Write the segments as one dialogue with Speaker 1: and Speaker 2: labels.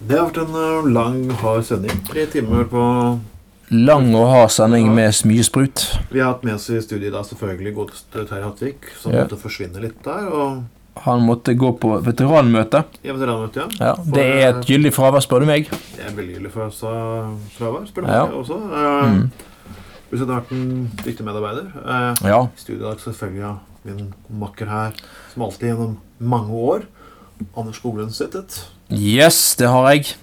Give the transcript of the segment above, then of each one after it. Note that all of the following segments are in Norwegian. Speaker 1: Det har vært en eh, lang, hard sending. Tre timer på
Speaker 2: Lang og hard sending med mye sprut.
Speaker 1: Vi har hatt med oss i studiet da selvfølgelig godeste Terje Hattvik, som
Speaker 2: Ja.
Speaker 1: måtte forsvinne litt der. Og
Speaker 2: Han måtte gå på veteranmøte.
Speaker 1: jeg vet dere han møtte igjen.
Speaker 2: Ja, det er et gyldig fravær, spør du meg.
Speaker 1: Jeg er veldig hyggelig for sa fravær, spør du
Speaker 2: Ja.
Speaker 1: meg også.
Speaker 2: Mm.
Speaker 1: Eh, Hvis det hadde vært en dyktig medarbeider. Eh,
Speaker 2: Ja,
Speaker 1: I studiedag selvfølgelig av min makker her, som alltid gjennom mange år. Anders Skoglund Sittet.
Speaker 2: yes, det har jeg.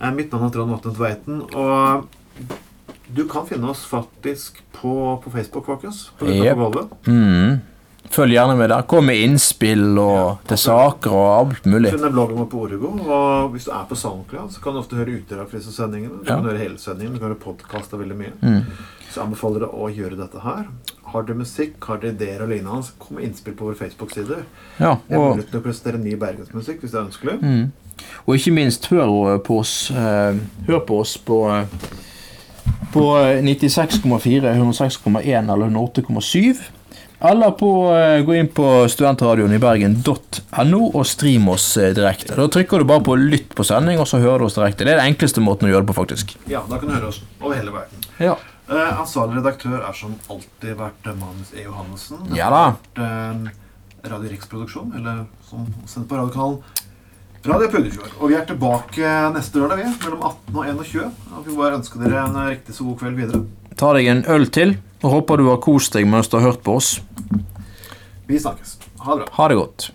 Speaker 1: Eh, Mitt navn er Trond Vatnet Veiten, og eh, du kan finne oss faktisk på, på Facebook, folkens. På Gutta
Speaker 2: Jep.
Speaker 1: på gulvet.
Speaker 2: Mm. Følg gjerne med der. Kom med innspill og til saker og alt mulig.
Speaker 1: Finn den bloggen vår på Origo. Og hvis du er på SoundCloud, så kan du ofte høre utdrag fra disse sendingene. Du
Speaker 2: Ja.
Speaker 1: kan høre hele sendingen, du kan høre podkast og veldig mye.
Speaker 2: Mm.
Speaker 1: Så jeg anbefaler deg å gjøre dette her. Har dere musikk, har dere ideer og lignende, kom med innspill på vår Facebook-side.
Speaker 2: Ja,
Speaker 1: Jeg er
Speaker 2: og,
Speaker 1: mulig til å presentere ny bergensmusikk hvis det er ønskelig.
Speaker 2: mm. og ikke minst, hør på oss eh, Hør på oss på eh, på eh, 96,4, 106,1 eller 108,7. Eller på, eh, gå inn på studentradioen i bergen.no og stream oss eh, direkte. Da trykker du bare på 'lytt på sending', og så hører du oss direkte. Det er den enkleste måten å gjøre det på, faktisk.
Speaker 1: Ja, da kan du høre oss over hele verden.
Speaker 2: Ja,
Speaker 1: Eh, ansvarlig redaktør er som alltid vært eh, Magnus E. Johannessen.
Speaker 2: ja da.
Speaker 1: vært eh, Radio Riksproduksjon, eller som sendt på radiokanalen Radio Puddefjord. Og vi er tilbake neste lørdag, vi, mellom 18 og 21. Og vi bare ønsker dere en eh, riktig så god kveld videre.
Speaker 2: Ta deg en øl til, og håper du har kost deg mens du har hørt på oss.
Speaker 1: Vi snakkes. Ha det bra.
Speaker 2: Ha det godt.